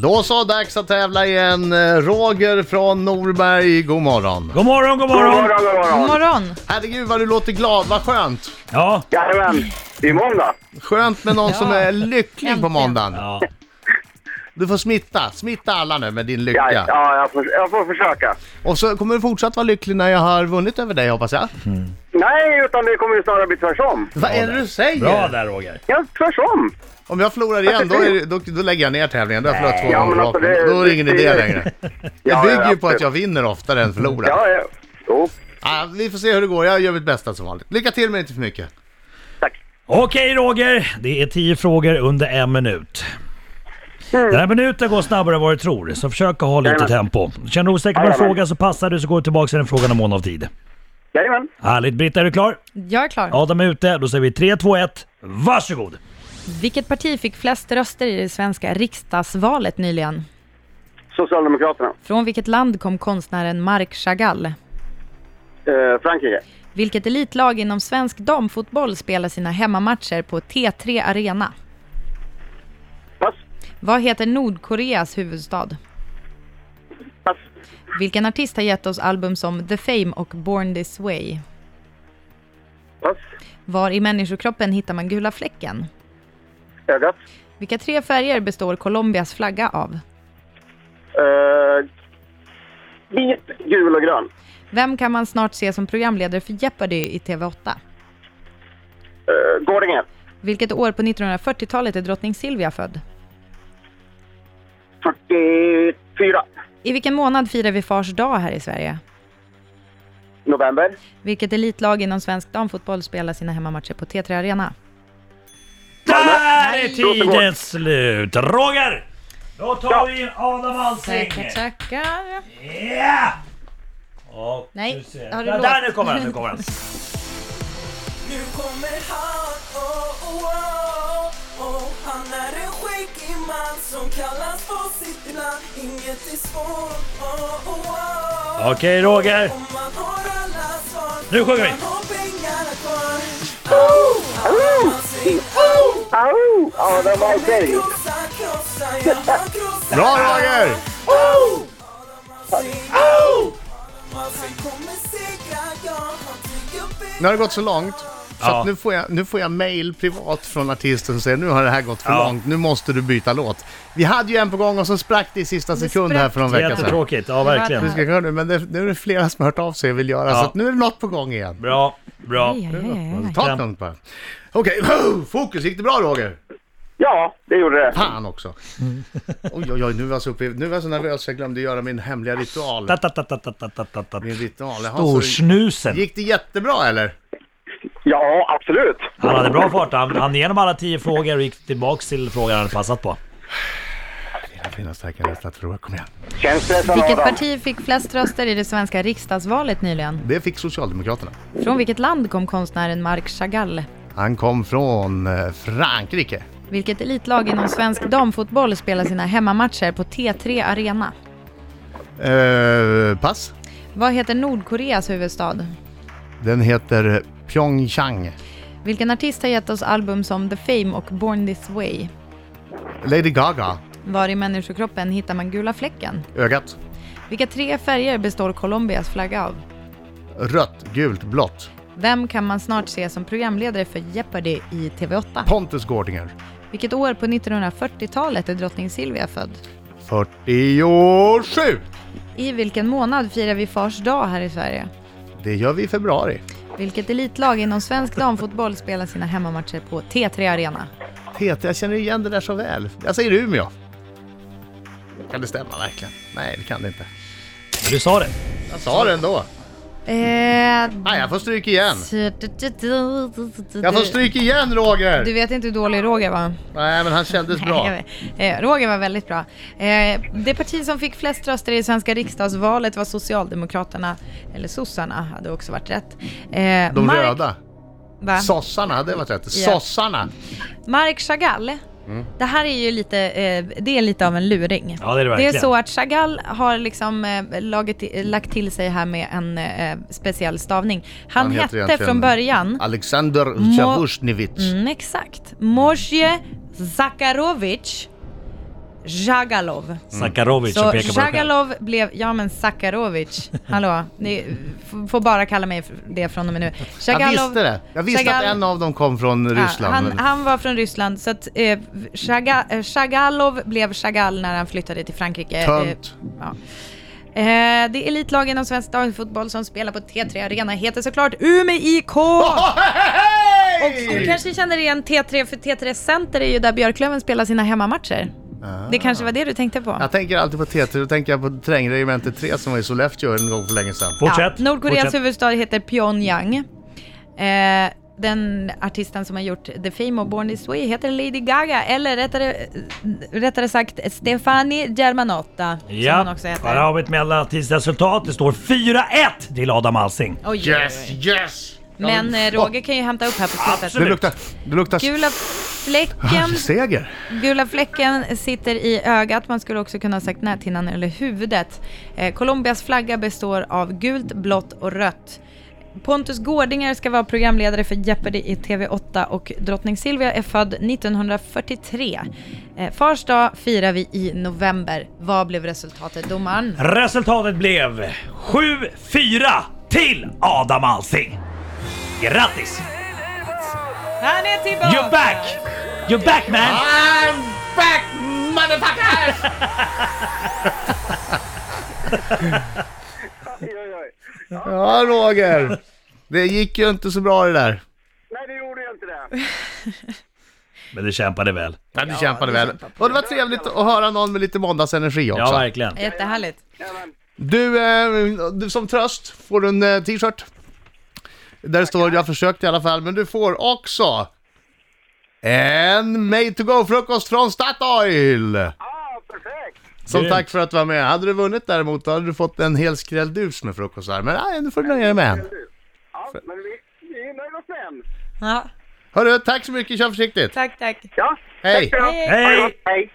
Då så, dags att tävla igen. Eh, Roger från Norberg, god morgon. God morgon, god God morgon! morgon, god God morgon. morgon. Herregud vad du låter glad, vad skönt. Ja, Jajamän. Det är måndag. Skönt med någon som är lycklig på Äntligen. måndagen. ja. Du får smitta, smitta alla nu med din lycka. Ja, ja jag, får, jag får försöka. Och så kommer du fortsatt vara lycklig när jag har vunnit över dig hoppas jag. Nej, utan det kommer ju snarare bli tvärtom. Vad är det du säger? bra där Roger. Ja, tvärtom. Om jag förlorar igen då, är, det- då, då lägger jag ner tävlingen. Då har jag förlorat två Ja, men gånger alltså, raka. det- Då är det ingen det- idé det- längre. Det Ja, bygger ju ja, på att jag vinner oftare än förlorar. Ja, ja. Jo, Ah, vi får se hur det går, jag gör mitt bästa som vanligt. Lycka till men inte för mycket. tack. Okej Roger, det är tio frågor under en minut. Mm. Den här minuten går snabbare än vad du tror, så försök att ha lite Jajamän. tempo. Känner du osäker på en Jajamän. fråga så passar du så går du tillbaka till den frågan om mån av tid. Jajamän. Härligt, Britta är du klar? Jag är klar. Adam är ute, då säger vi 3, 2, 1, varsågod! Vilket parti fick flest röster i det svenska riksdagsvalet nyligen? Socialdemokraterna. Från vilket land kom konstnären Marc Chagall? Eh, Frankrike. Vilket elitlag inom svensk damfotboll spelar sina hemmamatcher på T3 Arena? Pass. Vad heter Nordkoreas huvudstad? Pass. Vilken artist har gett oss album som The Fame och Born This Way? Pass. Var i människokroppen hittar man gula fläcken? Ögat. Vilka tre färger består Colombias flagga av? Eh, vit, gul och grön. Vem kan man snart se som programledare för Jeopardy i TV8? Eh, Gårdingen. Vilket år på 1940-talet är drottning Silvia född? 44. I vilken månad firar vi Fars dag här i Sverige? November. Vilket elitlag inom svensk damfotboll spelar sina hemmamatcher på T3 Arena? Där är Varsågod. tiden slut! Roger! Då tar vi in Adam Alsing! Tackar, tackar. Ja! Och Nej, du ser. har du där, låst? där, nu kommer han, nu kommer han. Nu kommer han, oh, oh, oh, oh. Han är en skäggig man som kallas på sitt namn Inget är svårt, oh, oh, oh. Okej Roger, Om man har alla svar Nu sjunger vi. man har pengarna kvar Oh, oh, oh. Au! Ja, den var okej. Krossa, krossa, jag har krossat Bra Roger! Nu har det gått så långt. Så Ja. att nu, får jag, nu får jag mail privat från artisten som säger nu har det här gått för Ja. långt, nu måste du byta låt. Vi hade ju en på gång och så sprack det i sista sekund här för någon sprack, vecka sedan. jättetråkigt. Ja verkligen. Vi ska göra nu, men det, nu är det flera som har hört av sig och vill göra, så att nu är det något på gång igen. Bra, bra. Aj, aj, aj, aj. Ta Ja. det lugnt bara. Okej, fokus. Gick det bra Roger? Ja, det gjorde det. Fan också. Mm. Oj, oj, oj, nu var jag så, uppe, nu var jag så nervös jag glömde göra min hemliga ritual. Ta, ta, ta, ta, ta, ta, ta, ta, ta. Min ritual. Jaha, så- Alltså, Storsnusen. Gick det jättebra eller? Ja, absolut. Han hade bra fart. Han han igenom alla tio frågor och gick tillbaks till frågan han hade passat på. Dina fina starka nästa tror jag. Kom igen. Känns det som Vilket Adam? parti fick flest röster i det svenska riksdagsvalet nyligen? Det fick Socialdemokraterna. Från vilket land kom konstnären Marc Chagall? Han kom från eh, Frankrike. Vilket elitlag inom svensk damfotboll spelar sina hemmamatcher på T3 Arena? Eh, pass. Vad heter Nordkoreas huvudstad? Den heter Pyeongchang. Vilken artist har gett oss album som The Fame och Born This Way? Lady Gaga. Var i människokroppen hittar man gula fläcken? Ögat. Vilka tre färger består Colombias flagga av? Rött, gult, blått. Vem kan man snart se som programledare för Jeopardy i TV8? Pontus Gårdinger. Vilket år på 1940-talet är drottning Silvia född? 47! I vilken månad firar vi Fars dag här i Sverige? Det gör vi i februari. Vilket elitlag inom svensk damfotboll spelar sina hemmamatcher på T3 Arena? TT, jag känner igen det där så väl. Jag säger Umeå. Kan det stämma verkligen? Nej, det kan det inte. Men Du sa det. Jag sa det ändå. Eh, Nej, jag får stryk igen. Jag får stryk igen, Roger! Du vet inte hur dålig Roger var? Nej, men han kändes bra. Nej, eh, Roger var väldigt bra. Eh, Det parti som fick flest röster i svenska riksdagsvalet var Socialdemokraterna, eller sossarna hade också varit rätt. Eh, De Mark- röda. Va? Sossarna, det var rätt. Ja. Sossarna! Marc Chagall, det här är ju lite, eh, det är lite av en luring. Mm. Ja, det är det det är verkligen. så att Chagall har liksom eh, laget, lagt till sig här med en eh, speciell stavning. Han, heter hette egentligen från början, Alexander Tjavusjnevitj. mm, exakt, Moshe Zakarovic Zhagalov. Sakarovic som Så pekar på dig själv. Zhagalov blev, ja men Sakarovic, hallå, ni f- får bara kalla mig för det från och med nu. Jag Zhagalov- visste det. Jag visste Zhagal- att en av dem kom från Ja, Ryssland. han, men- han var från Ryssland, så att eh, Shaga, eh, Shagalov blev Chagall när han flyttade till Frankrike. Tönt. Eh, ja. eh, det är elitlagen inom svensk damfotboll som spelar på T3 Arena heter såklart Umeå IK! Och du kanske känner igen T3, för T3 Center är ju där Björklöven spelar sina hemmamatcher. Det kanske var det du tänkte på? Jag tänker alltid på T3, då tänker jag på Trängregemente 3 som var i Sollefteå en gång för länge sedan. Fortsätt. Ja, Nordkoreas fortsätt. huvudstad heter Pyongyang. Eh, den artisten som har gjort The Fame och Born This Way heter Lady Gaga, eller rättare, eh, rättare sagt Stefani Germanotta, Ja, som hon också heter. här har vi ett mellantidsresultat. Det står 4-1 till Adam Alsing. Oj, oj, Yes, oj. yes! Men eh, Roger kan ju hämta upp här på Det slutet. luktar... Det luktar... Gula fläcken, Seger! gula fläcken sitter i ögat, man skulle också kunna ha sagt näthinnan eller huvudet. Eh, Colombias flagga består av gult, blått och rött. Pontus Gårdinger ska vara programledare för Jeopardy i TV8 och drottning Silvia är född 1943. Eh, Fars dag firar vi i november. Vad blev resultatet domaren? Resultatet blev 7-4 till Adam Alsing. Grattis! Han är You're tillbaka! back! You're back man! I'm back motherfuckers! Oj, oj, oj. Ja Roger! Det gick ju inte så bra det där. Nej, det gjorde jag inte det. Men du kämpade väl? Ja, du kämpade väl. Och det var trevligt att höra någon med lite måndagsenergi också. Ja, verkligen. Jättehärligt. Jajamän. Du, eh, du, som tröst får du en eh, t-shirt. Där det står jag försökte i alla fall, men du får också en Made to Go-frukost från Statoil! Ja, Ah, perfekt. Som Grymt. tack för att du var med. Hade du vunnit däremot då hade du fått en hel skrälldus med frukost här. Men nej, nu får du nöja dig med en. Ja, men vi, vi är nöjda med en. Ja, Hörru, tack så mycket. Kör försiktigt. tack, tack. Ja, Hej! tack ska du ha. Hej. Ha det Hej! gott. Hej.